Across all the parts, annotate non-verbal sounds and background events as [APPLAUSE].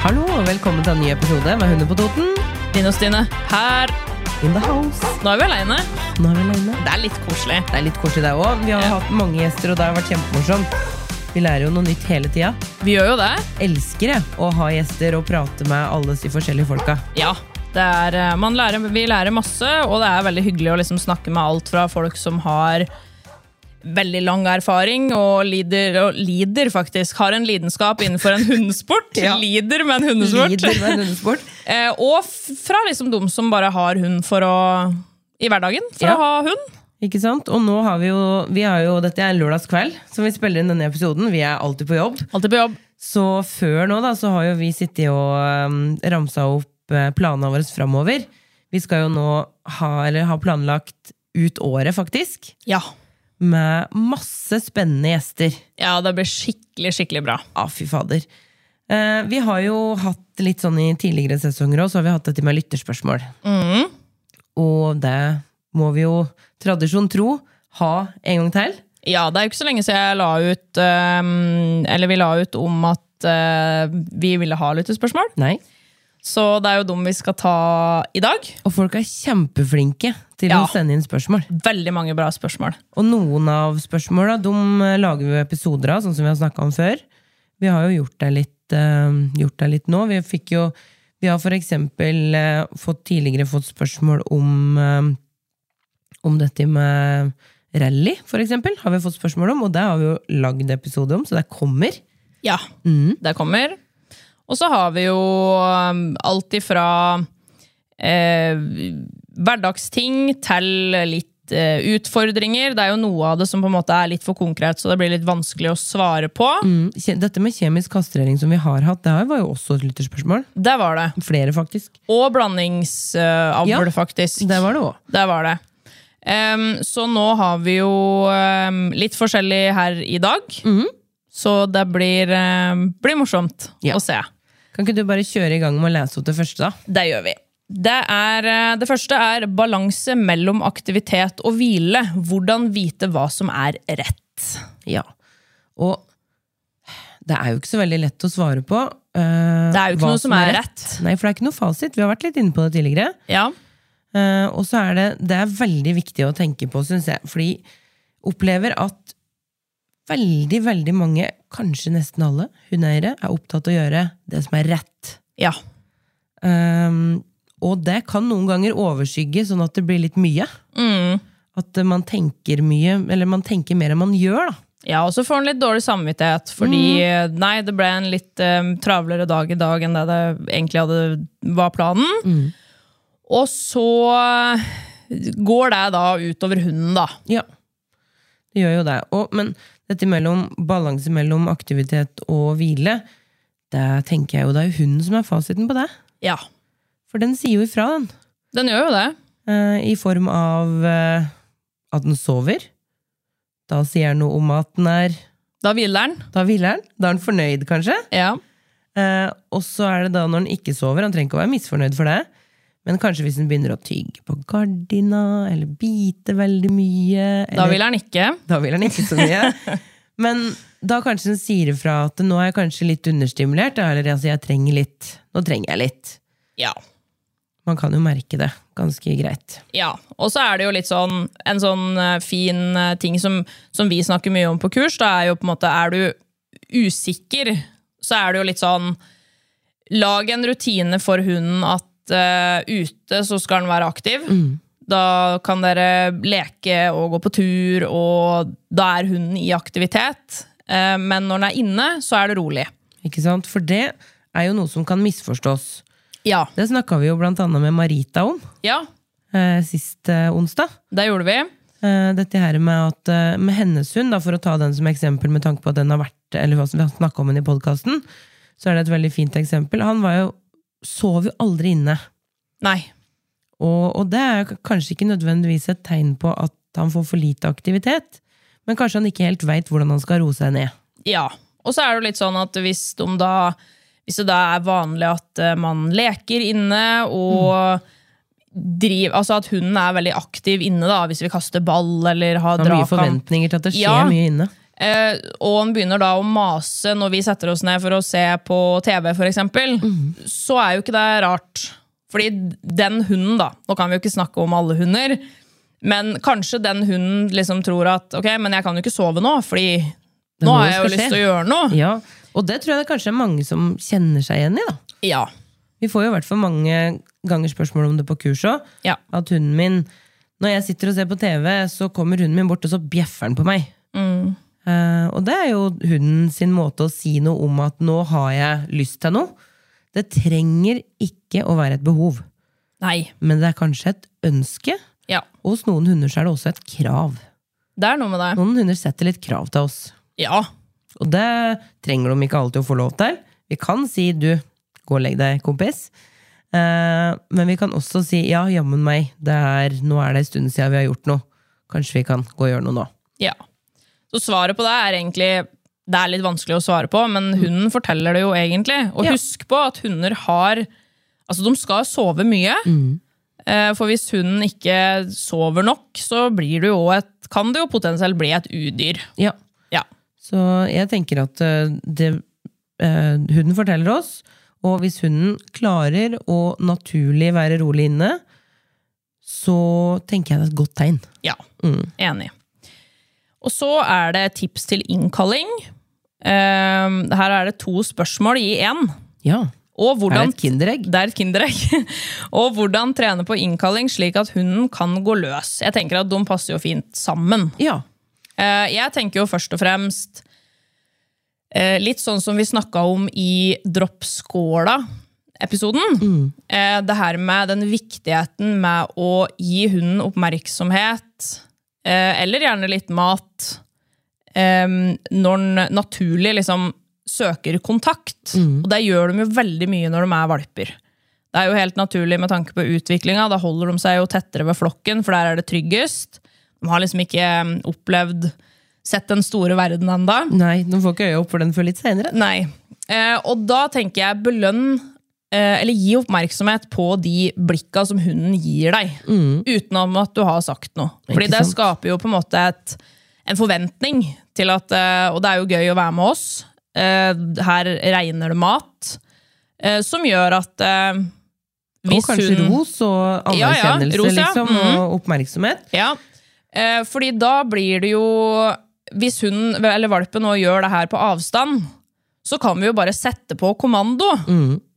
Hallo, og velkommen til en ny episode med Hunder på Toten. Line og Stine, her. In the house. Nå er vi alene. Nå er vi alene. Det er litt koselig. Det er litt koselig der òg. Vi har Ja. hatt mange gjester, og det har vært kjempemorsomt. Vi lærer jo noe nytt hele tida. Vi gjør jo det. Elsker jeg å ha gjester og prate med alle de forskjellige folka. Ja. Det er, eh, man lærer, vi lærer masse, og det er veldig hyggelig å liksom snakke med alt fra folk som har veldig lang erfaring og lider, og lider faktisk, har en lidenskap innenfor en hundesport. [LAUGHS] Ja. Lider med en hundesport. Lider med hundesport. [LAUGHS] Eh, og f- fra liksom de som bare har hund for å, i hverdagen, for å Ja. ha hund. Ikke sant? Og nå har vi jo, vi har jo Dette er lørdagskveld, som vi spiller inn denne episoden. Vi er alltid på jobb. Alltid på jobb. Så før nå da, så har jo vi sittet og um, ramsa opp eh, planene våre framover. Vi skal jo nå ha, eller ha planlagt ut året, faktisk, Ja. med masse spennende gjester. ja, det blir skikkelig, skikkelig bra. Ja, fy fader. Eh, vi har jo hatt litt sånn i tidligere sesonger òg, så har vi hatt dette med lytterspørsmål. Og det må vi jo, tradisjon tro, ha en gang til. Ja, det er jo ikke så lenge siden jeg la ut ehm, Eller vi la ut om at eh, vi ville ha lyttespørsmål. Nei. Så det er jo dem vi skal ta i dag. Og folk er kjempeflinke til Ja. å sende inn spørsmål. Veldig mange bra spørsmål. Og noen av spørsmåla de eh, lager vi jo episoder av, sånn som vi har snakka om før. Vi har jo gjort det litt, eh, gjort det litt nå. Vi, fikk jo, vi har for eksempel eh, fått, tidligere fått spørsmål om, eh, om dette med rally, for eksempel. Har vi fått spørsmål om, og det har vi jo lagd episode om, så det kommer. Ja, Mm. det kommer. Og så har vi jo ehm, alt ifra eh, hverdagsting til litt eh, utfordringer. Det er jo noe av det som på en måte er litt for konkret, så det blir litt vanskelig å svare på. Mm, kje- Dette med kjemisk kastrering som vi har hatt, det her var jo også et lytterspørsmål. Det var det. Flere, faktisk. Og blandingsavl, Ja, faktisk. Det var det òg. Det var det. Ehm, så nå har vi jo ehm, litt forskjellig her i dag. Så det blir, ehm, blir morsomt Ja. å se. Kan ikke du bare kjøre i gang med å lese opp det første, da? Det gjør vi. Det, er, eh, det første er balanse mellom aktivitet og hvile. Hvordan vite hva som er rett. Ja. Og det er jo ikke så veldig lett å svare på. eh, Det er jo ikke hva noe som er rett. Nei, for det er ikke noe fasit. Vi har vært litt inne på det tidligere. Ja, Eh, og så er det, det er veldig viktig å tenke på, syns jeg. Fordi opplever at veldig, veldig mange, kanskje nesten alle hundeeiere, er opptatt av å gjøre det som er rett. ja. Ehm, og det kan noen ganger overskygge, sånn at det blir litt mye. Mm. At eh, man tenker mye, eller man tenker mer enn man gjør, da. Ja, og så får han litt dårlig samvittighet, fordi eh, nei, det ble en litt eh, travlere dag i dag enn det det egentlig hadde, var planen. Og så eh, går det da utover hunden, da. Ja, det gjør jo det. Og, men dette mellom balanse mellom aktivitet og hvile, det tenker jeg jo det er jo hunden som er fasiten på det. Ja, For den sier jo ifra, den. den gjør jo det. Eh, I form av eh, at den sover. Da sier den noe om at den er Da hviler den. Da hviler den. Da er den fornøyd, kanskje. Ja. Eh, og så er det da når den ikke sover. Han trenger ikke å være misfornøyd for det. Men kanskje hvis den begynner å tygge på gardina, eller bite veldig mye Da eller- hviler den ikke. Da vil han ikke så mye. Men da kanskje hun sier ifra at nå er jeg kanskje litt understimulert. da, Eller altså, jeg trenger litt. Nå trenger jeg litt. Ja. Man kan jo merke det ganske greit. Ja, og så er det jo litt sånn en sånn eh, fin eh, ting som, som vi snakker mye om på kurs, da er jo på en måte, er du usikker, så er det jo litt sånn lag en rutine for hunden at eh, ute så skal den være aktiv. Da kan dere leke og gå på tur, og da er hunden i aktivitet. Eh, Men når den er inne, så er det rolig. Ikke sant? For det er jo noe som kan misforstås. Ja. Det snakka vi jo blant annet med Marita om ja eh, sist eh, onsdag. det gjorde vi. Eh, dette her med at eh, med hennes hund, da, for å ta den som eksempel med tanke på at den har vært, eller hva som vi har snakket om den i podkasten, så er det et veldig fint eksempel. Han var jo, sov jo aldri inne. Nei. Og, og det er k- kanskje ikke nødvendigvis et tegn på at han får for lite aktivitet, men kanskje han ikke helt veit hvordan han skal roe seg ned. Ja. Og så er det jo litt sånn at hvis, de da, hvis det da er vanlig at eh, man leker inne og driver Altså at hunden er veldig aktiv inne, da, hvis vi kaster ball eller har Han har mye dragkamp. forventninger til at det skjer Ja. mye inne. Eh, og han begynner da å mase når vi setter oss ned for å se på TV, f.eks., Mhm. så er jo ikke det rart. Fordi den hunden, da Nå kan vi jo ikke snakke om alle hunder, men kanskje den hunden liksom tror at ok, men jeg kan jo ikke sove nå, fordi nå må har jo jeg jo skal lyst skje. til å gjøre noe. Ja, Og det tror jeg det kanskje er mange som kjenner seg igjen i. da. Ja. Vi får jo i hvert fall mange ganger spørsmål om det på kurs òg. Ja. At hunden min Når jeg sitter og ser på TV, så kommer hunden min bort, og så bjeffer han på meg. Eh, og det er jo hunden sin måte å si noe om at 'nå har jeg lyst til noe'. Det trenger ikke å være et behov, Nei. men det er kanskje et ønske. Ja. Og hos noen hunder så er det også et krav. Det er noe med det. Noen hunder setter litt krav til oss. Ja. Og det trenger de ikke alltid å få lov til. Vi kan si 'du, gå og legg deg, kompis'. Eh, men vi kan også si 'ja, jammen meg, det er, nå er det en stund siden vi har gjort noe'. Kanskje vi kan gå og gjøre noe nå. ja. Så svaret på det er egentlig Det er litt vanskelig å svare på, men hunden forteller det jo egentlig. Og Ja. husk på at hunder har Altså, de skal sove mye. Eh, For hvis hunden ikke sover nok, så blir det jo et, kan det jo potensielt bli et udyr. Ja. Ja. Så jeg tenker at eh, det, eh, hunden forteller oss, og hvis hunden klarer å naturlig være rolig inne, så tenker jeg det er et godt tegn. Ja, enig. Og så er det tips til innkalling. Eh, Her er det to spørsmål i én. Ja. Og Er det hvordan et kinderegg? Det er et kinderegg. [LAUGHS] og hvordan trene på innkalling slik at hunden kan gå løs. Jeg tenker at De passer jo fint sammen. Ja. Eh, Jeg tenker jo først og fremst eh, litt sånn som vi snakka om i Droppskåla-episoden. Eh, Det her med den viktigheten med å gi hunden oppmerksomhet, eh, eller gjerne litt mat, eh, når den naturlig liksom søker kontakt. Og det gjør de jo veldig mye når de er valper. Det er jo helt naturlig med tanke på utviklinga. Da holder de seg jo tettere ved flokken, for der er det tryggest. De har liksom ikke mm, opplevd Sett den store verden ennå. Nei, nå får ikke øya opp for den før litt seinere. Nei. Eh, og da tenker jeg belønn eh, eller gi oppmerksomhet på de blikka som hunden gir deg, utenom at du har sagt noe. Fordi Mm. Ikke det sant? skaper jo på en måte et, en forventning til at eh, Og det er jo gøy å være med oss. Eh, her regner det mat. Eh, som gjør at eh, Og kanskje ros Ja, og ja, anerkjennelse ros, ja. Mm-hmm. liksom, og oppmerksomhet. Ja, eh, fordi da blir det jo Hvis hunden eller valpen nå gjør det her på avstand, så kan vi jo bare sette på kommando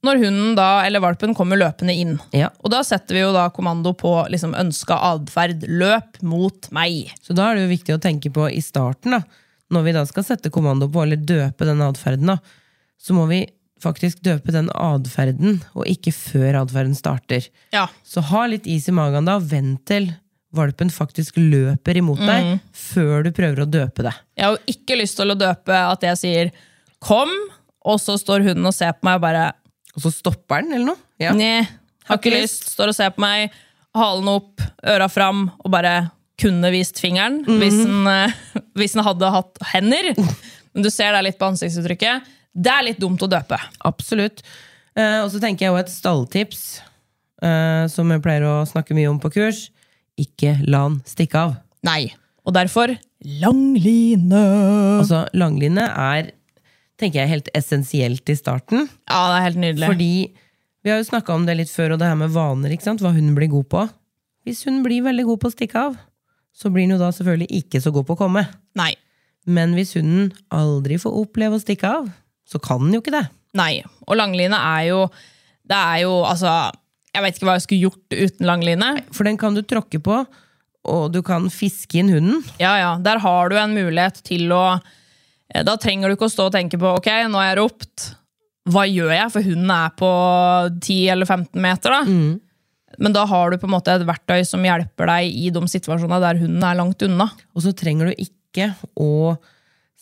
når hunden da, eller valpen kommer løpende inn. Ja. Og da setter vi jo da kommando på liksom ønska atferd. Løp mot meg. Så da er det jo viktig å tenke på i starten, da, når vi da skal sette kommando på eller døpe den atferden, da, så må vi faktisk døpe den atferden, og ikke før atferden starter. Ja. Så ha litt is i magen da, og vent til valpen faktisk løper imot deg, Mm. før du prøver å døpe det. Jeg har jo ikke lyst til å døpe at jeg sier 'kom', og så står hunden og ser på meg og bare Og så stopper den, eller noe? Ja. Nei, har ikke lyst. Står og ser på meg, halen opp, øra fram, og bare kunne vist fingeren hvis, den, eh, hvis den hadde hatt hender. Men du ser det er litt på ansiktsuttrykket. Det er litt dumt å døpe. Absolutt. Eh, og så tenker jeg også et stalltips, eh, som jeg pleier å snakke mye om på kurs. Ikke la den stikke av. Nei. Og derfor lang line. Altså, langline er tenker jeg, helt essensielt i starten. Ja, det er helt nydelig. Fordi vi har jo snakka om det litt før, og det her med vaner. ikke sant? Hva hun blir god på. Hvis hun blir veldig god på å stikke av, så blir hun jo da selvfølgelig ikke så god på å komme. Nei. Men hvis hunden aldri får oppleve å stikke av, så kan den jo ikke det. Nei. Og langline er jo Det er jo altså Jeg vet ikke hva jeg skulle gjort uten langline. For den kan du tråkke på, og du kan fiske inn hunden. Ja, ja, Der har du en mulighet til å eh, Da trenger du ikke å stå og tenke på Ok, nå har jeg ropt. Hva gjør jeg? For hunden er på 10 eller 15 meter. da. Men da har du på en måte et verktøy som hjelper deg i de situasjonene der hunden er langt unna. Og så trenger du ikke å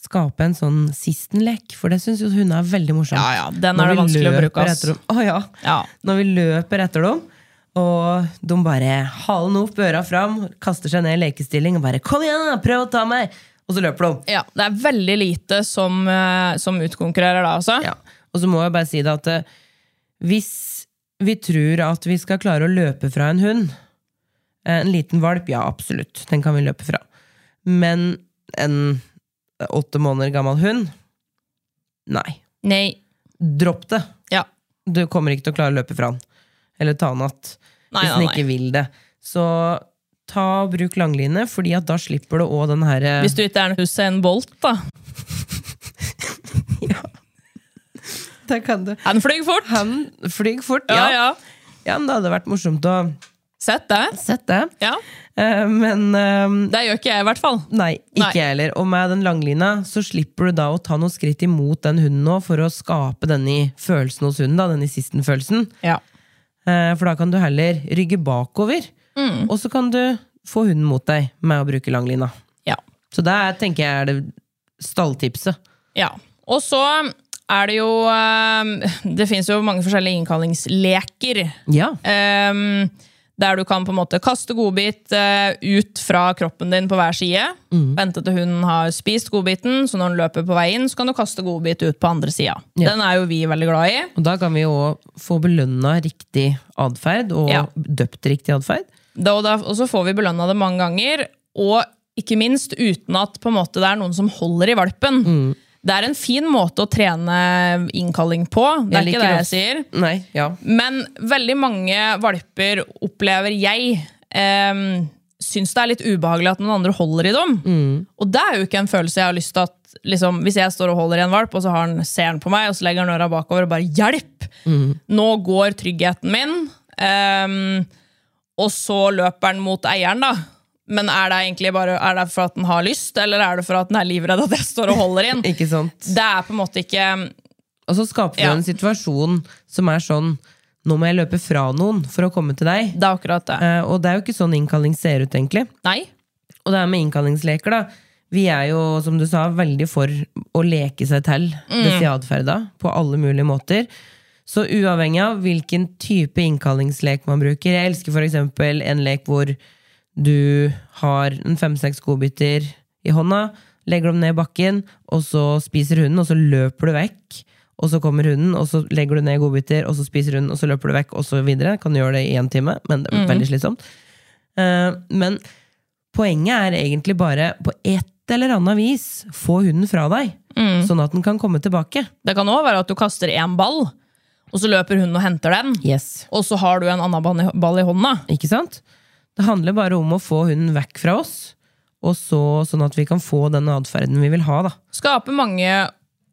skape en sånn sistenlek, for det syns jo hunder er veldig morsomt. Ja, ja, den Når er det vi vanskelig å løper bruke, ass. etter dem- Å, ja. Ja. Når vi løper etter dem, og de bare halen opp, øra fram, kaster seg ned i lekestilling og bare 'kom igjen, da, prøv å ta meg', og så løper de. Ja, Det er veldig lite som, eh, som utkonkurrerer da, altså. Ja. Og så må jeg bare si det at eh, hvis vi tror at vi skal klare å løpe fra en hund eh, En liten valp, ja, absolutt. Den kan vi løpe fra. Men en åtte måneder gammel hund? Nei. Nei. Dropp det. Ja. Du kommer ikke til å klare å løpe fra den. Eller ta den att. Nei, Hvis den nei, ikke vil det. Så ta og bruk langline, Fordi at da slipper du òg den eh, herre Hvis du ikke er en Hussein Bolt, da. Der kan du. Han flyr fort! Han flyr fort, Ja, ja. ja. ja. Men det hadde vært morsomt å Sett det. sett det. Ja. Eh, men eh, Det gjør ikke jeg, i hvert fall. Nei, Nei. ikke jeg heller. Og med den langlina så slipper du da å ta noen skritt imot den hunden nå for å skape denne følelsen hos hunden, da, denne sistenfølelsen. Ja. Eh, For da kan du heller rygge bakover, Mm. og så kan du få hunden mot deg med å bruke langlina. Ja. Så det er, tenker jeg er det stalltipset. ja. Og så er det jo eh, Det fins jo mange forskjellige innkallingsleker. Ja. eh, der du kan på en måte kaste godbit eh, ut fra kroppen din på hver side. Mm. Vente til hunden har spist godbiten, så når den løper på vei inn, så kan du kaste godbit ut på andre sida. Ja. Den er jo vi veldig glad i. Og da kan vi jo også få belønna riktig atferd, og Ja. døpt riktig atferd. Da, og, da, og så får vi belønna det mange ganger, og ikke minst uten at på en måte, det er noen som holder i valpen. Mm. Det er en fin måte å trene innkalling på, det er Jeg ikke det liker jeg sier. Nei, ja. Men veldig mange valper opplever jeg eh, syns det er litt ubehagelig at noen andre holder i dem. Og det er jo ikke en følelse jeg har lyst til at liksom, Hvis jeg står og holder i en valp, og så har han, ser han på meg, og så legger han øra bakover og bare 'hjelp!' Nå går tryggheten min, eh, og så løper han mot eieren, da. Men er det egentlig bare Er det for at den har lyst, eller er det for at den er livredd at jeg står og holder inn? [LAUGHS] Ikke sant? Det er på en måte ikke Og så skaper vi Ja. en situasjon som er sånn Nå må jeg løpe fra noen for å komme til deg. Det er akkurat det. Eh, og det er jo ikke sånn innkalling ser ut, egentlig. Nei. Og det er med innkallingsleker, da. Vi er jo, som du sa, veldig for å leke seg til disse atferda på alle mulige måter. Så uavhengig av hvilken type innkallingslek man bruker Jeg elsker f.eks. en lek hvor du har en fem-seks godbiter i hånda, legger dem ned i bakken, og så spiser hunden, og så løper du vekk. Og så kommer hunden, og så legger du ned godbiter, og så spiser hunden, og så løper du vekk, og så videre. Kan du gjøre det i én time, men det er veldig slitsomt. Eh, men poenget er egentlig bare på et eller annet vis få hunden fra deg, Mm. sånn at den kan komme tilbake. Det kan òg være at du kaster én ball, og så løper hunden og henter den. Og så har du en annen ball i- ball i hånda. Ikke sant? Det handler bare om å få hunden vekk fra oss, og så, sånn at vi kan få den atferden vi vil ha. Da. Skaper mange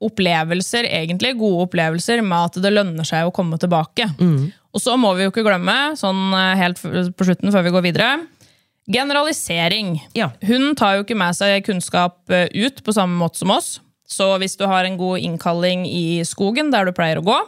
opplevelser, egentlig gode opplevelser, med at det lønner seg å komme tilbake. Mm. Og så må vi jo ikke glemme, sånn eh, helt f- på slutten før vi går videre, generalisering. Ja. Hun tar jo ikke med seg kunnskap eh, ut på samme måte som oss. Så hvis du har en god innkalling i skogen der du pleier å gå,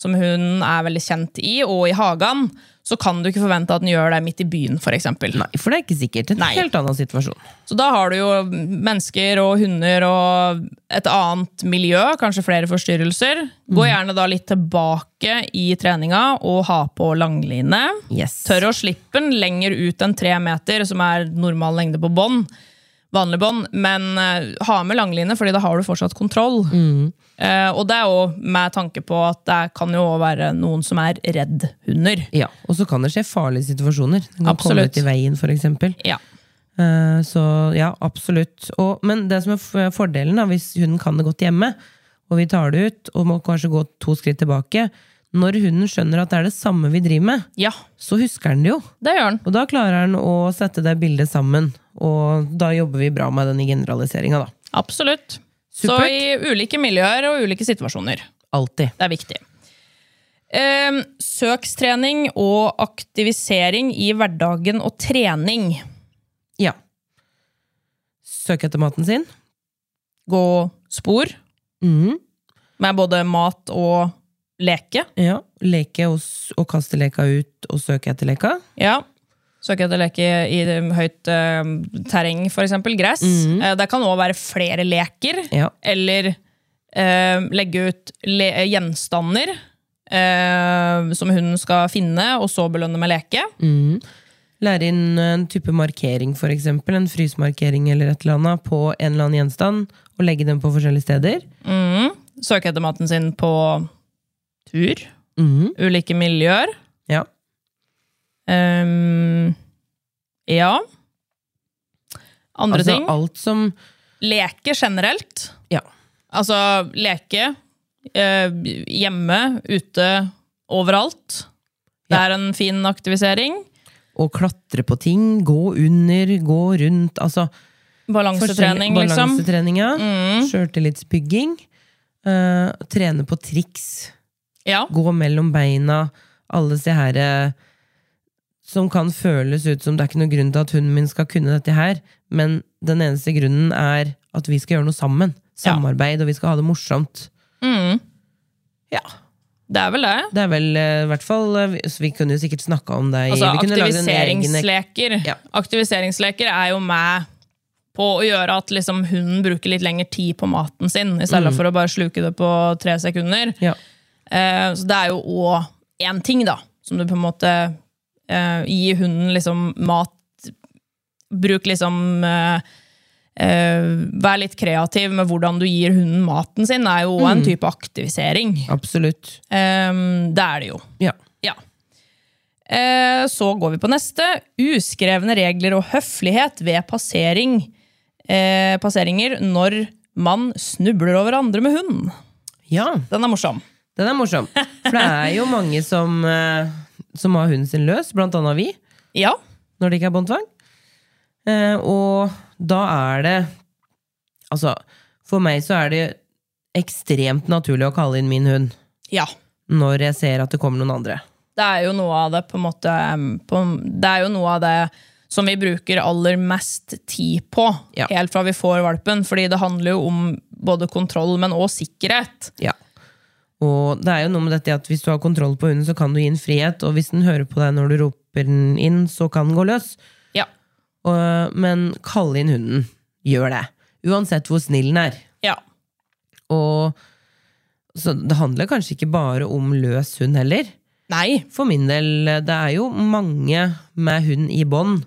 som hun er veldig kjent i, og i hagen, så kan du ikke forvente at den gjør det midt i byen, f.eks. Nei, for det er ikke sikkert. En Nei. helt annen situasjon. Så da har du jo mennesker og hunder og et annet miljø, kanskje flere forstyrrelser. Gå gjerne da litt tilbake i treninga og ha på langline. Yes. Tør å slippe den lenger ut enn tre meter, som er normal lengde på bånd. Vanlig bånd, men eh, ha med langline, fordi da har du fortsatt kontroll. Eh, og det er jo med tanke på at det kan jo også være noen som er redd hunder. Ja, Og så kan det skje farlige situasjoner. Den kan komme Absolutt. ut i veien, for eksempel. Ja. Eh, Så ja, absolutt. Og, men det som er f- fordelen, da, hvis hunden kan det godt hjemme, og vi tar det ut, og må kanskje gå to skritt tilbake Når hunden skjønner at det er det samme vi driver med, ja, så husker den det jo. det gjør den. Og da klarer den å sette det bildet sammen. Og da jobber vi bra med den generaliseringa, da. Absolutt. Så Supert. i ulike miljøer og ulike situasjoner. Alltid. Det er viktig. Eh, søkstrening og aktivisering i hverdagen og trening. Ja. Søke etter maten sin. Gå spor Mhm. med både mat og leke. Ja. Leke og, s- og kaste leka ut og søke etter leka. Ja. Søke etter leke i høyt eh, terreng, f.eks. gress. Eh, det kan òg være flere leker. Mhm. Ja. Eller eh, legge ut le gjenstander eh, som hunden skal finne, og så belønne med leke. Lære inn en type markering, for eksempel, en frysemarkering eller et eller annet, på en eller annen gjenstand, og legge den på forskjellige steder. Søke etter maten sin på tur. Ulike miljøer. Ja. Ehm, ja. Andre Altså ting. alt som Leke generelt. Ja. Altså leke eh, hjemme, ute, overalt. Det Ja. er en fin aktivisering. Å klatre på ting, gå under, gå rundt. Altså Balansetrening, forskjellig- liksom. Balansetrening, ja. Mm, Sjøltillitsbygging. eh, trene på triks. ja. Gå mellom beina. Alle disse her eh, som kan føles ut som det er ikke noen grunn til at hunden min skal kunne dette her, men den eneste grunnen er at vi skal gjøre noe sammen. Ja. Samarbeid, og vi skal ha det morsomt. Mm, Ja, det er vel det. det er vel eh, i hvert fall eh, vi- så Vi kunne jo sikkert snakka om det. i- Altså, vi kunne laget en egen- aktiviseringsleker. Ja. Aktiviseringsleker er jo med på å gjøre at liksom, hunden bruker litt lengre tid på maten sin, i Mm. stedet for å bare sluke det på tre sekunder. Ja. Eh, så det er jo òg én ting, da, som du på en måte eh, gir hunden liksom mat Bruk liksom eh, eh, Vær litt kreativ med hvordan du gir hunden maten sin, er jo òg Mm. en type aktivisering. Absolutt. Ehm, det er det jo. Ja. Ja. Eh, så går vi på neste. Uskrevne regler og høflighet ved passering. Eh, passeringer når man snubler over andre med hund. ja. Den er morsom. Den er morsom. For det er jo mange som, eh, som har hunden sin løs, blant annet vi, Ja. når det ikke er båndtvang. Eh, og da er det Altså, for meg så er det ekstremt naturlig å kalle inn min hund ja. når jeg ser at det kommer noen andre. Det er jo noe av det på en måte em, på, Det er jo noe av det som vi bruker aller mest tid på, Ja. helt fra vi får valpen. Fordi det handler jo om både kontroll, men òg sikkerhet. Ja. Og det er jo noe med dette at hvis du har kontroll på hunden, så kan du gi den frihet, og hvis den hører på deg når du roper den inn, så kan den gå løs. Ja. Og, men kalle inn hunden. Gjør det. Uansett hvor snill den er. ja. Og så det handler kanskje ikke bare om løs hund heller. Nei. For min del, det er jo mange med hund i bånd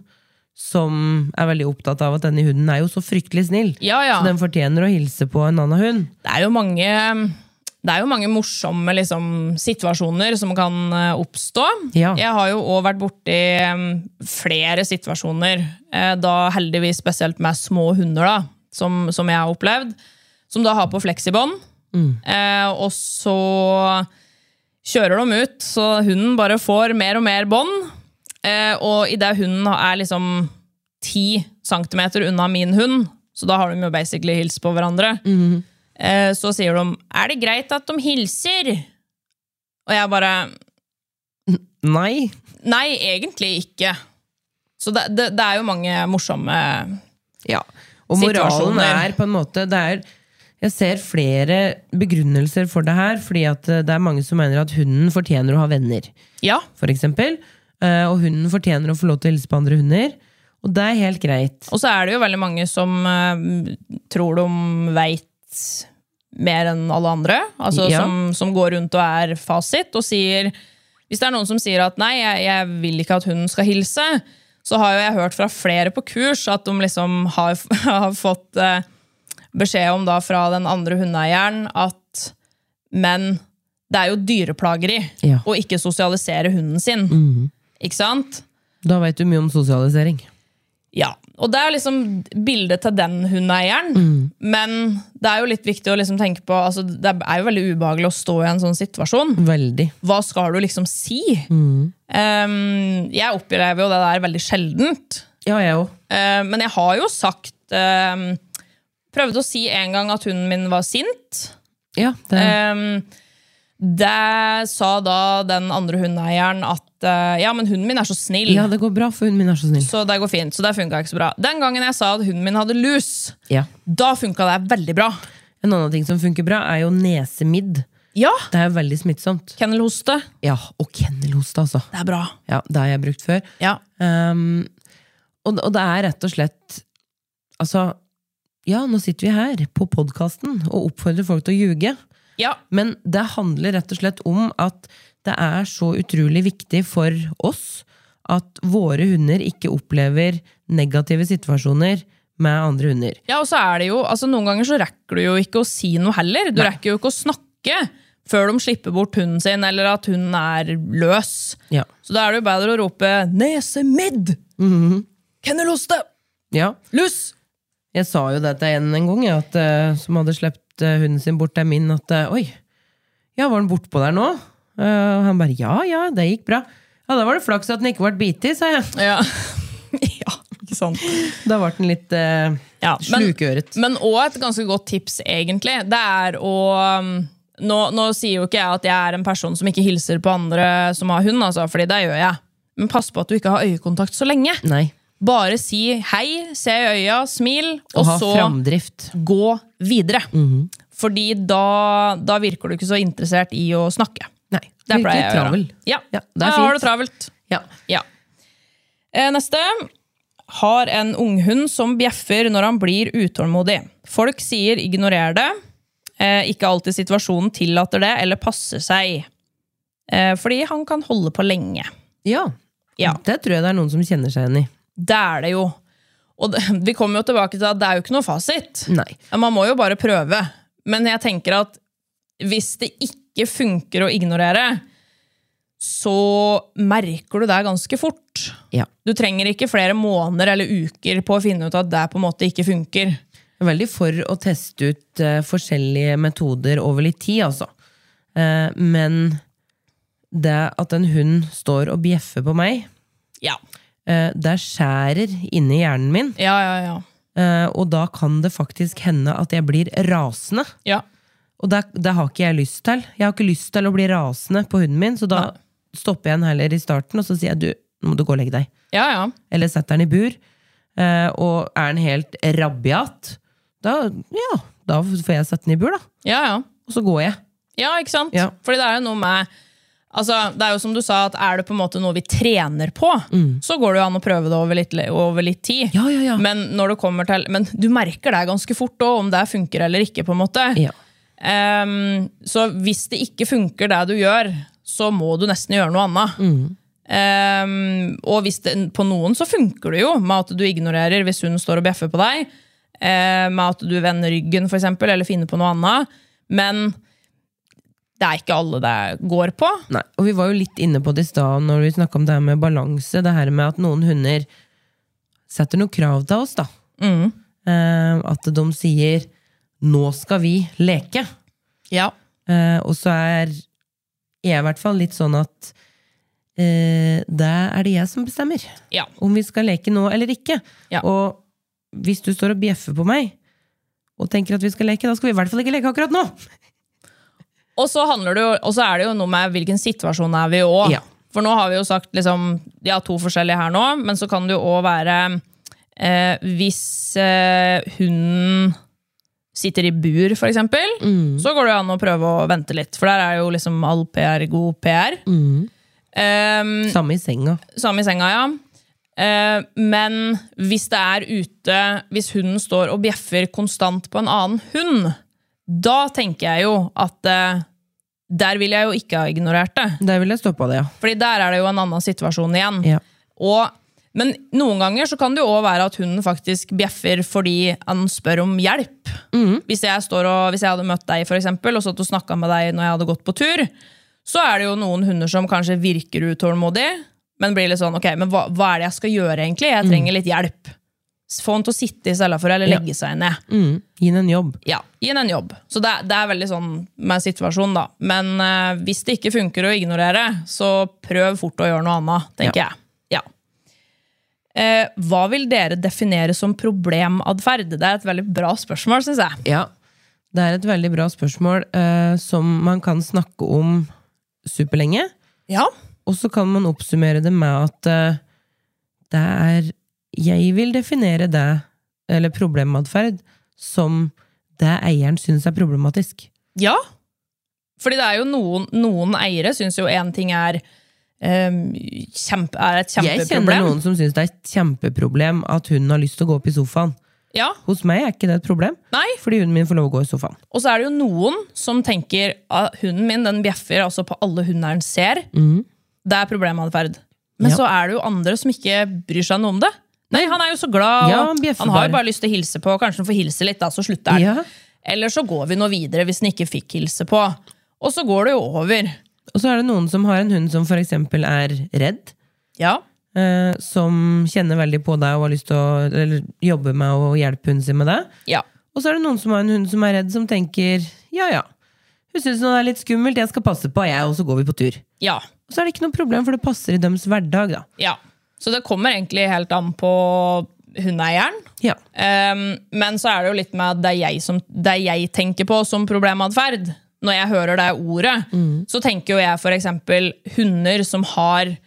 som er veldig opptatt av at denne hunden er jo så fryktelig snill. Ja, ja. Så den fortjener å hilse på en annen hund. det er jo mange det er jo mange morsomme liksom, situasjoner som kan eh, oppstå. Ja. Jeg har jo òg vært borti em, flere situasjoner, eh, da heldigvis spesielt med små hunder, da, som, som jeg har opplevd, som da har på fleksibånd. Eh, og så kjører de ut, så hunden bare får mer og mer bånd. Eh, og idet hunden er liksom ti centimeter unna min hund, så da har de jo basically hilst på hverandre. Eh, Så sier de 'Er det greit at de hilser?' Og jeg bare Nei. Nei, egentlig ikke. Så det, det, det er jo mange morsomme Ja. Og moralen Situasjoner. er på en måte det er, Jeg ser flere begrunnelser for det her, fordi at eh, det er mange som mener at hunden fortjener å ha venner. Ja. for eksempel. Eh, Og hunden fortjener å få lov til å hilse på andre hunder. Og det er helt greit. Og så er det jo veldig mange som eh, tror de veit mer enn alle andre. Altså Ja. som, som går rundt og er fasit og sier Hvis det er noen som sier at 'nei, jeg, jeg vil ikke at hunden skal hilse', så har jo jeg hørt fra flere på kurs at de liksom har, [LAUGHS] har fått eh, beskjed om da fra den andre hundeeieren at Men det er jo dyreplageri Ja. Mhm. å ikke sosialisere hunden sin. Ikke sant? Da veit du mye om sosialisering. Ja, og det er liksom bildet til den hundeeieren. Mm. Men det er jo litt viktig å liksom tenke på altså, Det er jo veldig ubehagelig å stå i en sånn situasjon. Veldig. Hva skal du liksom si? Mm. Um, jeg opplever jo det der veldig sjeldent. Ja, jeg òg. Eh, men jeg har jo sagt eh, Prøvde å si en gang at hunden min var sint. Ja, det- Eh, Det sa da den andre hundeeieren at eh, ja, men hunden min er så snill, Ja, det går bra, for hunden min er Mm. så snill. så det går fint. Så det funka ikke så bra. Den gangen jeg sa at hunden min hadde lus, Ja. da funka det veldig bra. En annen ting som funker bra, er jo nesemidd. Ja, Det er jo veldig smittsomt. Kennelhoste. Ja, Og kennelhoste, altså. Det er bra. Ja, Det har jeg brukt før. Ja. Um, og, og det er rett og slett Altså, ja, nå sitter vi her på podkasten og oppfordrer folk til å ljuge. ja. Men det handler rett og slett om at det er så utrolig viktig for oss at våre hunder ikke opplever negative situasjoner med andre hunder. Ja, og så er det jo, altså Noen ganger så rekker du jo ikke å si noe heller. Du rekker jo ikke å snakke før de slipper bort hunden sin, eller at hunden er løs. Ja. Så da er det jo bedre å rope 'nesemidd'! Mhm. Kennelhoste! ja. Lus! Jeg sa jo det til en en gang, jeg, at, eh, som hadde sluppet hunden sin bort til min, at eh, oi, ja, var den bortpå der nå? Eh, og han bare ja, ja, det gikk bra. Ja, da var det flaks at den ikke ble bitt i, sa jeg. [LAUGHS] Ja. [LAUGHS] ja, ikke sant. Da ble den litt eh, Ja, men- Mm. slukøret. Men òg et ganske godt tips, egentlig. Det er å um, nå, nå sier jo ikke jeg at jeg er en person som ikke hilser på andre som har hund, altså, fordi det gjør jeg. Men pass på at du ikke har øyekontakt så lenge. Nei. Bare si hei, se i øya, smil, og, Å ha Mhm. så framdrift. gå videre. Fordi da, da virker du ikke så interessert i å snakke. Nei. Det virkelig pleier jeg å gjøre. travel. Ja, Ja, det er da har du fint. travelt. Ja. Ja. Eh, Neste. Har en unghund som bjeffer når han blir utålmodig. Folk sier 'ignorer det'. Eh, ikke alltid situasjonen tillater det, eller passer seg. Eh, fordi han kan holde på lenge. Ja. Ja. Det tror jeg det er noen som kjenner seg igjen i. Det er det jo. Og det, [LAUGHS] vi kommer jo tilbake til at det er jo ikke noe fasit. Nei. Man må jo bare prøve. Men jeg tenker at hvis det ikke funker å ignorere, så merker du det ganske fort. Ja. Du trenger ikke flere måneder eller uker på å finne ut at det på en måte ikke funker. Jeg er veldig for å teste ut eh, forskjellige metoder over litt tid, altså. Eh, men det at en hund står og bjeffer på meg, Ja. eh, det skjærer inni hjernen min. Ja, ja, ja. eh, og da kan det faktisk hende at jeg blir rasende. Ja, Og det, det har ikke jeg lyst til. Jeg har ikke lyst til å bli rasende på hunden min, så da stopper jeg den heller i starten, og så sier jeg du, nå må du gå og legge deg. ja. ja. eller setter den i bur, eh, og er den helt rabiat, da, ja, da får jeg sette den i bur, da. ja, ja. Og så går jeg. ja ikke sant? Ja. Fordi det er jo noe med Altså, det er jo som du sa, at er det på en måte noe vi trener på, så går det jo an å prøve det over litt, over litt tid. Mm. Ja, ja, ja. Men, når det kommer til, men du merker det ganske fort òg, om det funker eller ikke. på en måte. [LAUGHS] Ja. Ehm, så hvis det ikke funker det du gjør, så må du nesten gjøre noe annet. Ehm, og hvis det, på noen så funker det jo, med at du ignorerer hvis hun står og bjeffer på deg. eh, med at du vender ryggen, for eksempel, eller finner på noe annet. Men det er ikke alle det går på. Nei, og vi var jo litt inne på det i stad når vi snakka om det her med balanse. Det her med at noen hunder setter noen krav til oss, da. Mm. Eh, at de sier 'nå skal vi leke'. Ja. Eh, og så er jeg i hvert fall litt sånn at eh, det er det jeg som bestemmer. Ja. Om vi skal leke nå eller ikke. Ja. Og hvis du står og bjeffer på meg og tenker at vi skal leke, da skal vi i hvert fall ikke leke akkurat nå! Og så, handler det jo, og så er det jo noe med hvilken situasjon er vi i òg. Ja. For nå har vi jo sagt liksom, ja, to forskjellige her nå, men så kan det jo òg være eh, Hvis eh, hunden sitter i bur, for eksempel, så går det jo an å prøve å vente litt. For der er jo liksom all PR god PR. Eh, Samme i senga. samme i senga, ja. Eh, men hvis det er ute Hvis hunden står og bjeffer konstant på en annen hund, da tenker jeg jo at eh, Der vil jeg jo ikke ha ignorert det. Der ville jeg stoppa det, ja. Fordi der er det jo en annen situasjon igjen. Ja. Og, men noen ganger så kan det jo òg være at hunden faktisk bjeffer fordi han spør om hjelp. Hvis, jeg står og, hvis jeg hadde møtt deg, for eksempel, og satt og snakka med deg når jeg hadde gått på tur, så er det jo noen hunder som kanskje virker utålmodig, men blir litt sånn Ok, men hva, hva er det jeg skal gjøre, egentlig? Jeg trenger litt hjelp. Få han til å sitte i stedet for, eller Ja. legge seg ned Mm. Gi den en jobb. ja, gi henne en jobb. Så det, det er veldig sånn med situasjonen, da. Men eh, hvis det ikke funker å ignorere, så prøv fort å gjøre noe annet, tenker jeg. Ja. Eh, hva vil dere definere som problematferd? Det er et veldig bra spørsmål, syns jeg. Ja. Det er et veldig bra spørsmål eh, som man kan snakke om superlenge. Ja. Og så kan man oppsummere det med at eh, det er Jeg vil definere det, eller problematferd, som det eieren syns er problematisk. Ja. Fordi det er jo noen, noen eiere syns jo én ting er, em, kjempe, er et Jeg kjenner kjempeproblem. noen som syns det er et kjempeproblem at hun har lyst til å gå opp i sofaen. Ja. Hos meg er ikke det et problem, Nei. fordi hunden min får lov å gå i sofaen. Og så er det jo noen som tenker at hunden min den bjeffer altså på alle hundeieren ser. Det er problematferd. Men Mhm. Ja. så er det jo andre som ikke bryr seg noe om det. Nei, Han er jo så glad, Ja, han og bjeffer han har jo bare. bare lyst til å hilse på. Kanskje han får hilse litt, da, så slutter han. Ja. Eller så går vi nå videre hvis han ikke fikk hilse på. Og så går det jo over. Og så er det noen som har en hund som for eksempel er redd. Ja, eh, som kjenner veldig på deg og har lyst til å eller, jobbe med å hjelpe hunden sin med det. ja. Og så er det noen som har en hund som er redd, som tenker ja ja, hun syns det er litt skummelt, jeg skal passe på, jeg, og så går vi på tur. Ja. Og så er det ikke noe problem, for det passer i deres hverdag, da. ja. Så det kommer egentlig helt an på hundeeieren. Ja. Ehm, men så er det jo litt med at det er jeg, som, det er jeg tenker på som problematferd. Når jeg hører det ordet, så tenker jo jeg f.eks. hunder som har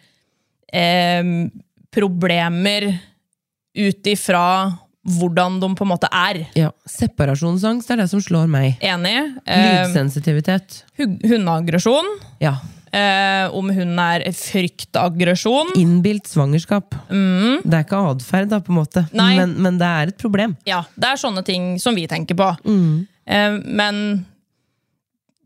ehm, problemer ut ifra hvordan de på en måte er. ja. Separasjonsangst er det som slår meg. Enig? Eh, Ehm, Lydsensitivitet. hu- hundeaggresjon. Ja. eh, om hunden er fryktaggresjon. Innbilt svangerskap. Det er ikke atferd, da, på en måte, Nei. men, men det er et problem. Ja, det er sånne ting som vi tenker på. Eh, men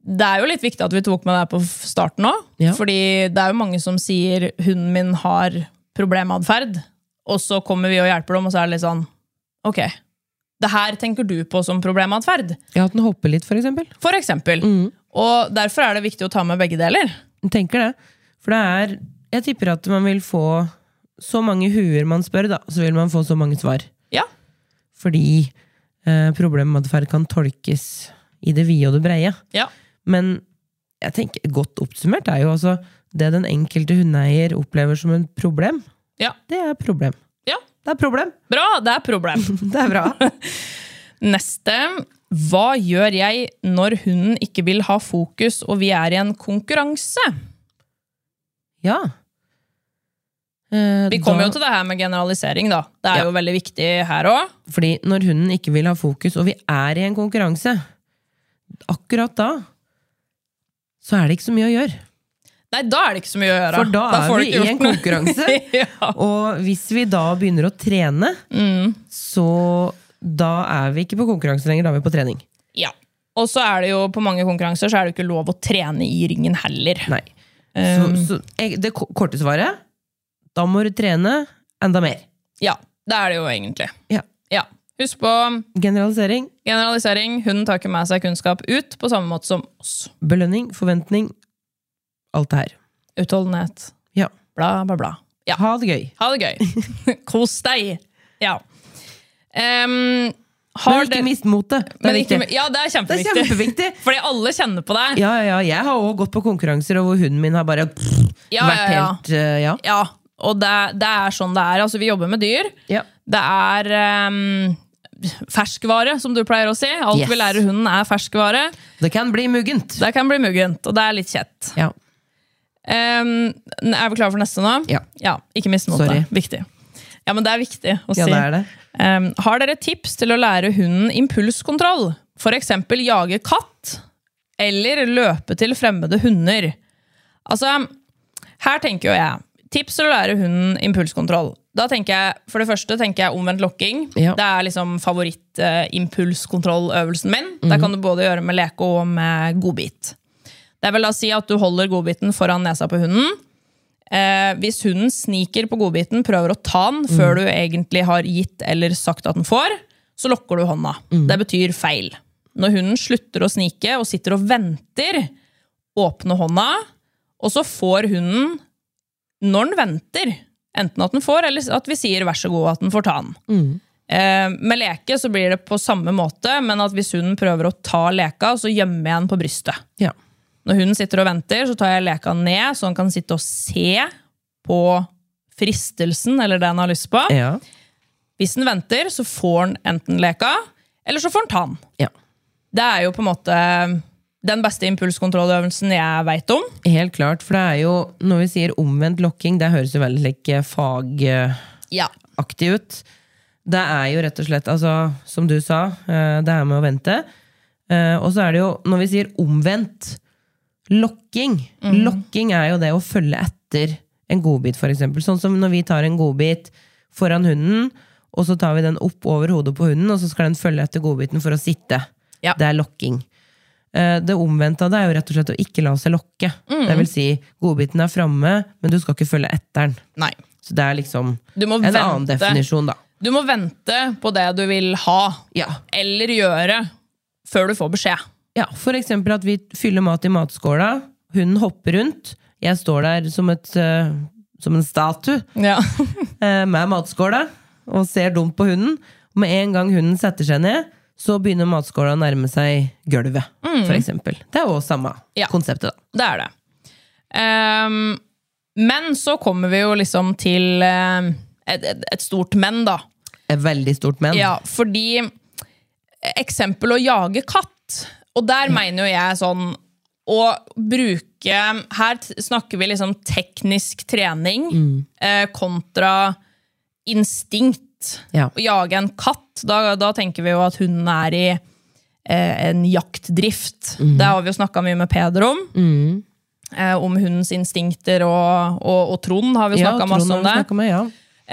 det er jo litt viktig at vi tok med det her på f- starten òg. Ja. Fordi det er jo mange som sier 'hunden min har problematferd', og så kommer vi og hjelper dem, og så er det litt sånn Ok, det her tenker du på som problematferd, Ja, at den hopper litt, for eksempel. for eksempel. Og derfor er det viktig å ta med begge deler. Jeg tenker det. For det er Jeg tipper at man vil få så mange huer man spør, da, så vil man få så mange svar. Ja. Fordi eh, problematferd kan tolkes i det vide og det breie. Ja. Men jeg tenker, godt oppsummert er jo altså det den enkelte hundeeier opplever som et problem. Ja. Det er problem. ja. Det er problem! Bra, det er problem. [LAUGHS] Det er bra. Neste. Hva gjør jeg når hunden ikke vil ha fokus og vi er i en konkurranse? ja. Eh, Vi kommer da- jo til det her med generalisering, da. Det er Ja. jo veldig viktig her òg. Fordi når hunden ikke vil ha fokus, og vi er i en konkurranse, akkurat da, så er det ikke så mye å gjøre. Nei, da er det ikke så mye å gjøre. For da er får du ikke vi i gjort en noe. [LAUGHS] konkurranse. ja. Og hvis vi da begynner å trene, Mm. så da er vi ikke på konkurranse lenger, da er vi på trening. ja. Og så er det jo på mange konkurranser så er det jo ikke lov å trene i ringen heller. Nei. Så, Um. så jeg- det ko- korte svaret, da må du trene enda mer. Ja, det er det jo egentlig. Ja. Ja. Husk på Generalisering, generalisering. Hunden tar ikke med seg kunnskap ut på samme måte som oss. belønning, forventning, alt det her. Utholdenhet. Ja. Bla, bla, bla. Ja. Ha det gøy. Ha det [LAUGHS] gøy. Kos deg. Ja. Em, har Men ikke dere- mist motet. Det men er ikke viktig. mi- Ja, det er Det er kjempeviktig. kjempeviktig. [LAUGHS] Fordi alle kjenner på deg. Ja, ja, ja. Jeg har òg gått på konkurranser, og hvor hunden min har bare Ja, vært ja, ja. helt eh, ja. Ja, og det, det er sånn det er. Altså, vi jobber med dyr. Det er em, ferskvare, som du pleier å si. Alt Yes. vi lærer hunden, er ferskvare. Det kan bli muggent. Det kan bli muggent, og det er litt kjett. Ja. Em, er vi klare for neste nå? Ja. ikke mist Sorry. motet. Viktig. Ja, men det er viktig å ja, si. det er det. Um, har dere tips til å lære hunden impulskontroll? For eksempel jage katt, eller løpe til fremmede hunder. Altså, her tenker jo jeg, tips til å lære hunden impulskontroll. Da tenker jeg, For det første tenker jeg omvendt lokking. Ja. Det er liksom favoritt-impulskontrolløvelsen min. Det kan du både gjøre med leke og med godbit. Det vil da si at du holder godbiten foran nesa på hunden. Eh, hvis hunden sniker på godbiten, prøver å ta den før du egentlig har gitt eller sagt at den får, så lokker du hånda. Det betyr feil. Når hunden slutter å snike og sitter og venter, åpner hånda, og så får hunden, når den venter, enten at den får, eller at vi sier vær så god at den får ta den. Eh, med leke så blir det på samme måte, men at hvis hunden prøver å ta leka, så gjemmer jeg den på brystet. Ja. Når hunden sitter og venter, så tar jeg leka ned, så han kan sitte og se på fristelsen eller det han har lyst på. Ja. Hvis han venter, så får han enten leka, eller så får han ta den. Ja. Det er jo på en måte den beste impulskontrolløvelsen jeg veit om. Helt klart, for det er jo, når vi sier omvendt lokking, det høres jo veldig eh, like, fagaktig Ja. ut. Det er jo rett og slett, altså, som du sa, eh, det er med å vente. Eh, Og så er det jo, når vi sier omvendt lokking, lokking er jo det å følge etter en godbit, for eksempel. Sånn som når vi tar en godbit foran hunden, og så tar vi den opp over hodet på hunden, og så skal den følge etter godbiten for å sitte. Ja. Det er lokking. Eh, Det omvendte av det er jo rett og slett å ikke la seg lokke. Det vil si, godbiten er framme, men du skal ikke følge etter den. Nei. Så det er liksom Du må en vente. annen definisjon, da. Du må vente på det du vil ha, Ja. eller gjøre, før du får beskjed. ja, for eksempel at vi fyller mat i matskåla, hunden hopper rundt, jeg står der som, et, eh, som en statue Ja. eh, med matskåla og ser dumt på hunden. Med en gang hunden setter seg ned, så begynner matskåla å nærme seg gulvet, for eksempel. Det er jo samme Mm. Ja. konseptet, da. [LAUGHS] Det er det. Ehm, men så kommer vi jo liksom til eh, et, et, et stort men, da. Et veldig stort men. Ja, fordi Eksempel å jage katt. Og der mener jo jeg sånn å bruke Her t- snakker vi liksom teknisk trening Mm. eh, kontra instinkt. Ja. Å jage en katt, da, da tenker vi jo at hunden er i eh, en jaktdrift. Mm. Det har vi jo snakka mye med Peder om. Eh, om hundens instinkter og, og, og Trond har vi Ja, snakka Trond masse har om vi det. snakket Med, ja.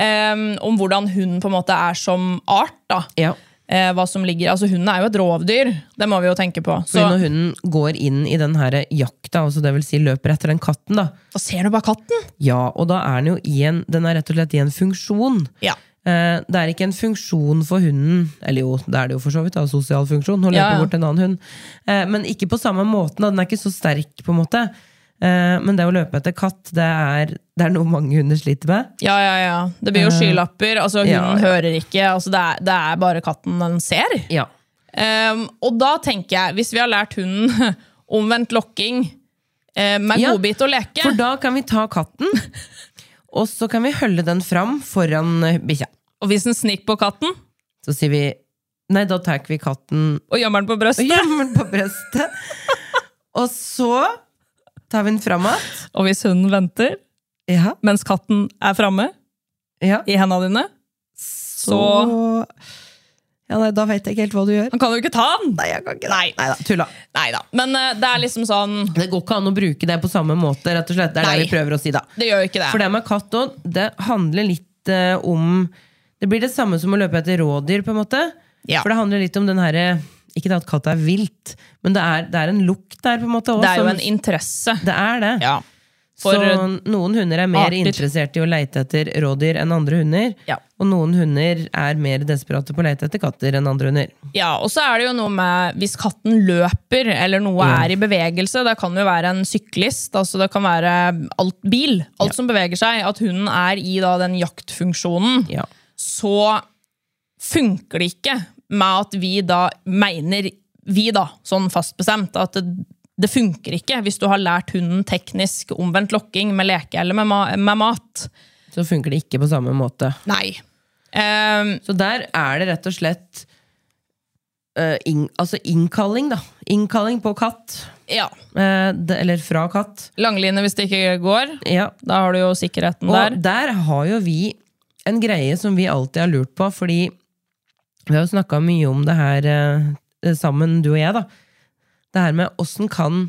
Em, om hvordan hunden på en måte er som art. da. Ja. Eh, hva som ligger, altså Hunden er jo et rovdyr, det må vi jo tenke på. Så Fordi når hunden går inn i den her jakta, altså det vil si løper etter den katten, da, da ser du bare katten! ja, og da er den jo i en, den er rett og slett i en funksjon. Ja. Eh, det er ikke en funksjon for hunden, eller jo, det er det jo for så vidt, da, sosial funksjon, å løpe Ja, ja. bort til en annen hund, eh, men ikke på samme måten, da, den er ikke så sterk på en måte. Eh, men det å løpe etter katt, det er, det er noe mange hunder sliter med. ja, ja, ja. Det blir jo skylapper. altså Hunden Eh, ja, ja. hører ikke. altså det er, det er bare katten den ser. Ja. Em, og da tenker jeg, hvis vi har lært hunden [LAUGHS] omvendt lokking eh, med Ja, godbit og leke For da kan vi ta [LAUGHS] katten, og så kan vi hølle den fram foran eh, bikkja. Og hvis den sniker på katten Så sier vi, nei, da tar vi katten og gjemmer den på og brøstet, gjemmer den på brøstet. [LAUGHS] Og så tar vi den fram igjen. og hvis hunden venter Ja, mens katten er framme ja. i hendene dine, så Så- ja, nei, Da veit jeg ikke helt hva du gjør. Han kan jo ikke ta den! Nei, Nei. Nei da, tulla. da. Men eh, det er liksom sånn Det går ikke an å bruke det på samme måte. rett og slett. Det er Nei. det vi prøver å si, da. Det gjør jo ikke det. For det med katt òg, det handler litt eh, om Det blir det samme som å løpe etter rådyr, på en måte. Ja. For det handler litt om den herre Ikke det at katt er vilt, men det er, det er en lukt der, på en måte. også, det er jo som- en interesse. det er det. Ja. For så noen hunder er mer arter. interessert i å leite etter rådyr enn andre hunder. Ja. Og noen hunder er mer desperate på å leite etter katter enn andre hunder. ja, Og så er det jo noe med hvis katten løper, eller noe Ja. er i bevegelse. Det kan jo være en syklist, altså det kan være alt, bil. Alt som beveger seg. At hunden er i da, den jaktfunksjonen. Ja. Så funker det ikke med at vi da mener Vi, da, sånn fastbestemt, at det, det funker ikke hvis du har lært hunden teknisk omvendt lokking med leke eller med, ma med mat. Så funker det ikke på samme måte. Nei. Ehm, Så der er det rett og slett eh, inn, altså innkalling, da. Innkalling på katt. ja. eh, det, eller fra katt. Langline hvis det ikke går. Ja. Da har du jo sikkerheten Og der. der. har jo vi en greie som vi alltid har lurt på, fordi vi har jo snakka mye om det her eh, sammen, du og jeg, da. Det her med åssen kan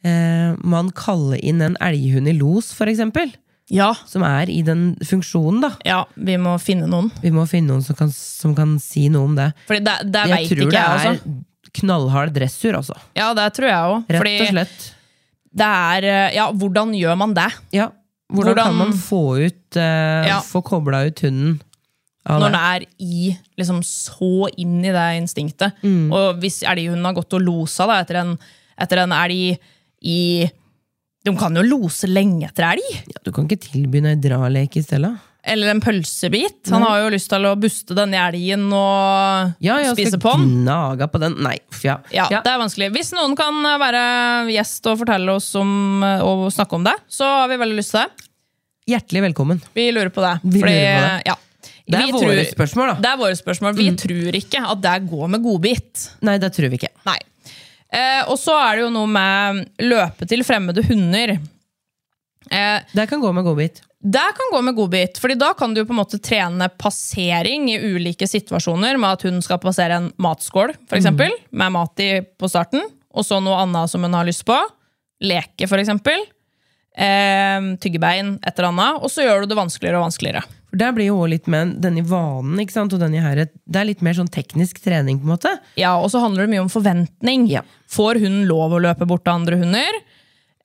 eh, man kalle inn en elghund i los, for eksempel? Ja. Som er i den funksjonen, da. ja, vi må finne noen. Vi må finne noen som kan, som kan si noe om det. Fordi det, det Jeg veit tror ikke det jeg, er altså. knallhard dressur, altså. Ja, det tror jeg òg. Rett Fordi og slett. det er eh, Ja, hvordan gjør man det? Ja. Hvordan, Hvordan- kan man få ut eh, Ja. Få kobla ut hunden? av Når det? den er i, liksom så inn i det instinktet. Mm. Og hvis elghunden har gått og losa da, etter, en, etter en elg i De kan jo lose lenge etter elg! Ja, du kan ikke tilby noe dralek i stedet? Eller en pølsebit. Han har jo lyst til å buste denne elgen og Ja, jeg spise skal på den. gnaga på den. Nei, uff, ja. Ja, Ja. det er vanskelig. Hvis noen kan være gjest og fortelle oss om, eh, og snakke om det, så har vi veldig lyst til det. Hjertelig velkommen. Vi lurer på det. Vi lurer på Ja. Det er Vi våre tror- spørsmål, da. Mm. Det er våre spørsmål. Vi tror ikke at det går med godbit. Nei, det tror vi ikke. Nei. Eh, og så er det jo noe med løpe til fremmede hunder. Eh, Det kan gå med godbit. det kan gå med godbit, Fordi da kan du jo på en måte trene passering i ulike situasjoner, med at hun skal passere en matskål, Mm. f.eks., eksempel med mat i på starten, og så noe annet som hun har lyst på. Leke, f.eks. Eh, tyggebein, et eller annet. Og så gjør du det vanskeligere og vanskeligere. For Der blir jo også litt med denne vanen ikke sant? og denne her, Det er litt mer sånn teknisk trening, på en måte. Ja, og så handler det mye om forventning. Får hun lov å løpe bort til andre hunder?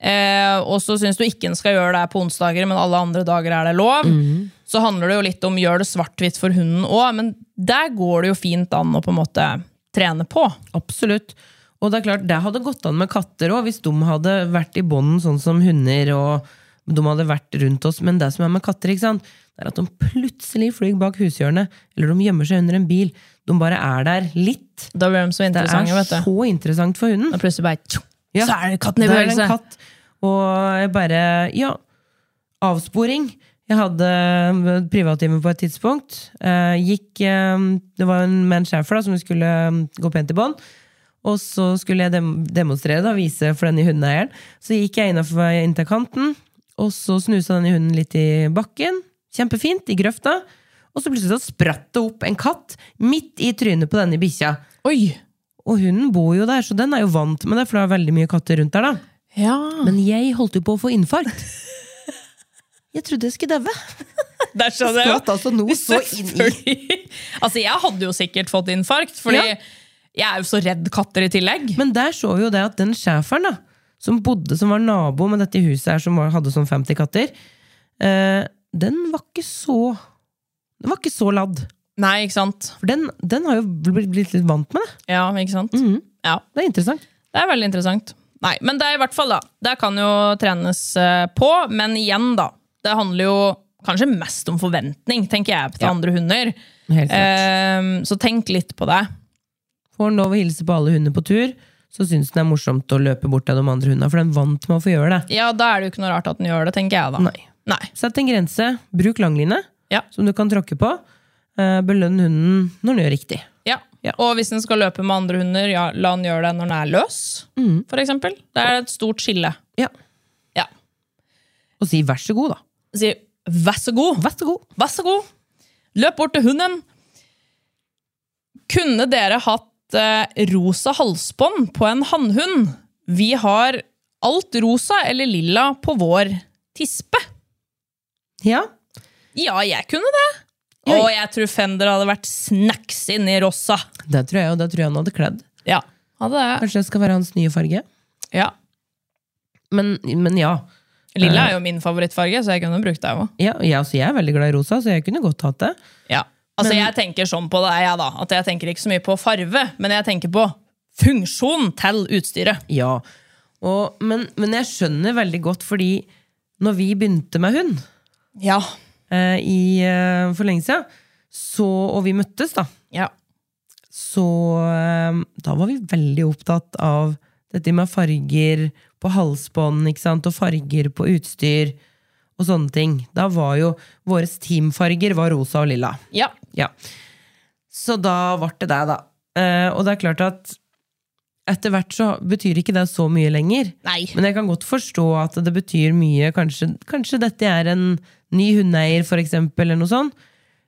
Eh, og så syns du ikke en skal gjøre det på onsdager, men alle andre dager er det lov. Mhm. Så handler det jo litt om gjør det svart-hvitt for hunden òg, men der går det jo fint an å på en måte trene på. Absolutt. Og det er klart, det hadde gått an med katter òg, hvis de hadde vært i bånden sånn som hunder. og de hadde vært rundt oss, Men det som er med katter, ikke sant? Det er at de plutselig flyr bak hushjørnet, eller de gjemmer seg under en bil. De bare er der litt. Da blir de så Det er interessante, vet du. så interessant for hunden. Og plutselig bare tjo, Ja, Så er det katten i da er det en bevegelse! katt. Og jeg bare Ja. Avsporing. Jeg hadde eh, privattime på et tidspunkt. Eh, gikk eh, Det var en med en schæfer da, som vi skulle eh, gå pent i bånd. Og så skulle jeg dem demonstrere, da, vise for denne hundeeieren. Så gikk jeg innafor inntil kanten, og så snusa denne hunden litt i bakken. Kjempefint, i grøfta. Og så plutselig så spratt det opp en katt midt i trynet på denne bikkja. Oi! Og hunden bor jo der, så den er jo vant med det, for det er veldig mye katter rundt der. da. Ja. Men jeg holdt jo på å få infarkt. Jeg trodde jeg skulle daue. Der skjønner jeg jo. Skvatt altså noe så inn i Selvfølgelig. altså, jeg hadde jo sikkert fått infarkt, fordi Ja. jeg er jo så redd katter i tillegg. Men der så vi jo det at den schæferen, da, som bodde, som var nabo med dette huset her, som var, hadde sånn 50 katter, eh, den var ikke så Den var ikke så ladd. Nei, ikke sant? For den, den har jo blitt, blitt litt vant med det. Ja, ikke sant? Mhm. Ja. Det er interessant. Det er veldig interessant. Nei, men det er i hvert fall da. Det kan jo trenes eh, på, men igjen da. Det handler jo kanskje mest om forventning, tenker jeg, til andre hunder. Helt klart. Ehm, så tenk litt på det. Får den lov å hilse på alle hunder på tur, så syns den det er morsomt å løpe bort til de andre hundene, for den er vant med å få gjøre det. Ja, da er det jo ikke noe rart at den gjør det, tenker jeg da. Nei. Sett en grense. Bruk langline, Ja. som du kan tråkke på. Eh, Belønn hunden når den gjør riktig. Ja. Ja. Og hvis den skal løpe med andre hunder, ja, la den gjøre det når den er løs, Mhm. for eksempel. Det er et stort skille. Ja. Ja. Og si vær så god, da. Si, vær så god. Vær så god. Vær så god, løp bort til hunden. Kunne dere hatt eh, rosa halsbånd på en hannhund? Vi har alt rosa eller lilla på vår tispe. Ja. Ja, jeg kunne det. Oi. Og jeg tror Fender hadde vært snacks inni rosa. Det tror jeg, og det tror jeg han hadde kledd. Ja, hadde det. Kanskje det skal være hans nye farge. Ja. Eh. Men, men ja. Lilla er jo min favorittfarge, så jeg kunne brukt det òg. ja jeg, altså, jeg er veldig glad i rosa, så jeg kunne godt hatt det. Ja. Altså, jeg tenker sånn på det, jeg, da. At jeg tenker ikke så mye på farve, men jeg tenker på funksjon til utstyret. Ja. Og, men, men jeg skjønner veldig godt, fordi når vi begynte med hund Ja. eh, i, eh, for lenge siden, så, og vi møttes, da, ja. så eh, da var vi veldig opptatt av dette med farger på halsbånd ikke sant? og farger på utstyr og sånne ting. Da var jo våre teamfarger var rosa og lilla. Ja. Ja. Så da ble det det, da. Eh, og det er klart at etter hvert så betyr ikke det så mye lenger. Nei. Men jeg kan godt forstå at det betyr mye. Kanskje, kanskje dette er en ny hundeeier, for eksempel, eller noe sånt.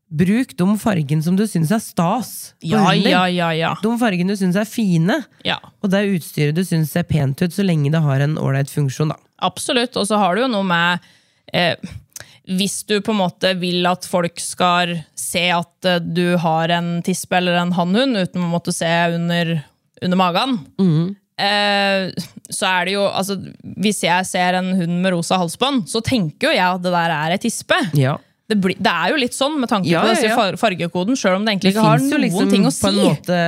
Bruk de fargene som du syns er stas. på Ja, hunden din. ja, ja, ja. De fargene du syns er fine, ja. og det utstyret du syns ser pent ut, så lenge det har en ålreit funksjon, da. Absolutt. Og så har du jo noe med eh, Hvis du på en måte vil at folk skal se at eh, du har en tispe eller en hannhund, uten å måtte se under, under magen, Mhm. eh, så er det jo altså, Hvis jeg ser en hund med rosa halsbånd, så tenker jo jeg at det der er ei tispe. Ja. Det, blir- det er jo litt sånn med tanke Ja, på ja, disse ja. far- fargekoden, sjøl om det egentlig Det ikke har fins jo noen liksom ting å på en si. måte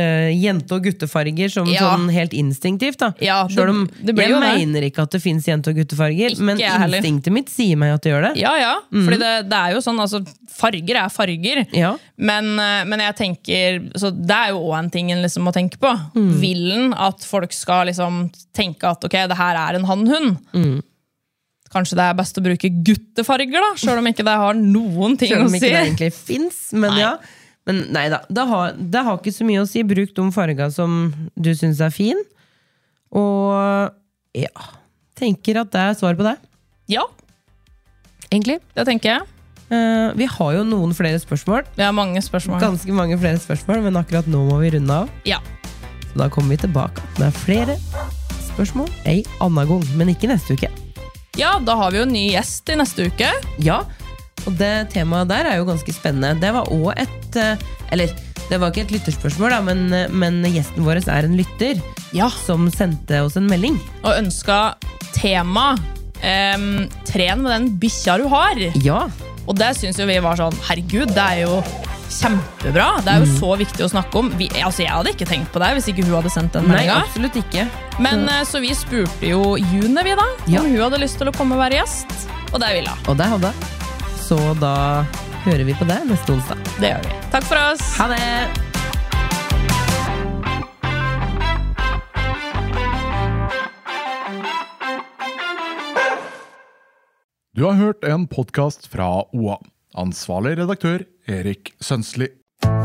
eh, jente- og guttefarger som Ja. sånn helt instinktivt, da. Ja, det- Selv om det blir jeg jo det. mener ikke at det fins jente- og guttefarger, Ikke men jeg heller. instinktet mitt sier meg at det gjør det. Ja, ja. Fordi det, det er jo sånn, altså, farger er farger. Mhm. Ja. Men, eh, men jeg tenker Så det er jo òg en ting en liksom må tenke på. Mhm. Mhm. Vil en at folk skal liksom tenke at ok, det her er en hannhund? Kanskje det er best å bruke guttefarger, da, sjøl om ikke det har noen ting Selv å om ikke si. det egentlig fins. Men Nei. ja. Men nei da. Det har, det har ikke så mye å si. Bruk de farga som du syns er fin. Og ja Tenker at det er svar på det, Ja, egentlig. det tenker jeg. Eh, vi har jo noen flere spørsmål. Vi har mange spørsmål. Ganske mange flere spørsmål, men akkurat nå må vi runde av. Ja. Så da kommer vi tilbake med flere spørsmål ei anna gang, men ikke neste uke. ja, da har vi jo en ny gjest i neste uke. Ja, og det temaet der er jo ganske spennende. Det var òg et eh, Eller, det var ikke et lytterspørsmål, da, men, eh, men gjesten vår er en lytter Ja. som sendte oss en melding. Og ønska tema ehm, Tren med den bikkja du har. Ja, Og det syns jo vi var sånn Herregud, det er jo kjempebra. Det Mm. er jo så viktig å snakke om. Vi, altså, Jeg hadde ikke tenkt på det hvis ikke hun hadde sendt den Nei, meldinga. absolutt ikke. Men eh, så vi spurte jo June, vi da, om Ja. hun hadde lyst til å komme og være gjest. Og det ville hun. Og det hadde jeg. Så da hører vi på det neste onsdag. Det gjør vi. Takk for oss. Ha det! Du har hørt en podkast fra OA. Ansvarlig redaktør Erik Sønsli.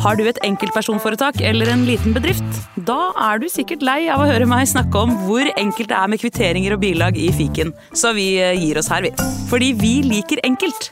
Har du et enkeltpersonforetak eller en liten bedrift? Da er du sikkert lei av å høre meg snakke om hvor enkelt det er med kvitteringer og bilag i fiken, så vi eh, gir oss her, vi. Fordi vi liker enkelt.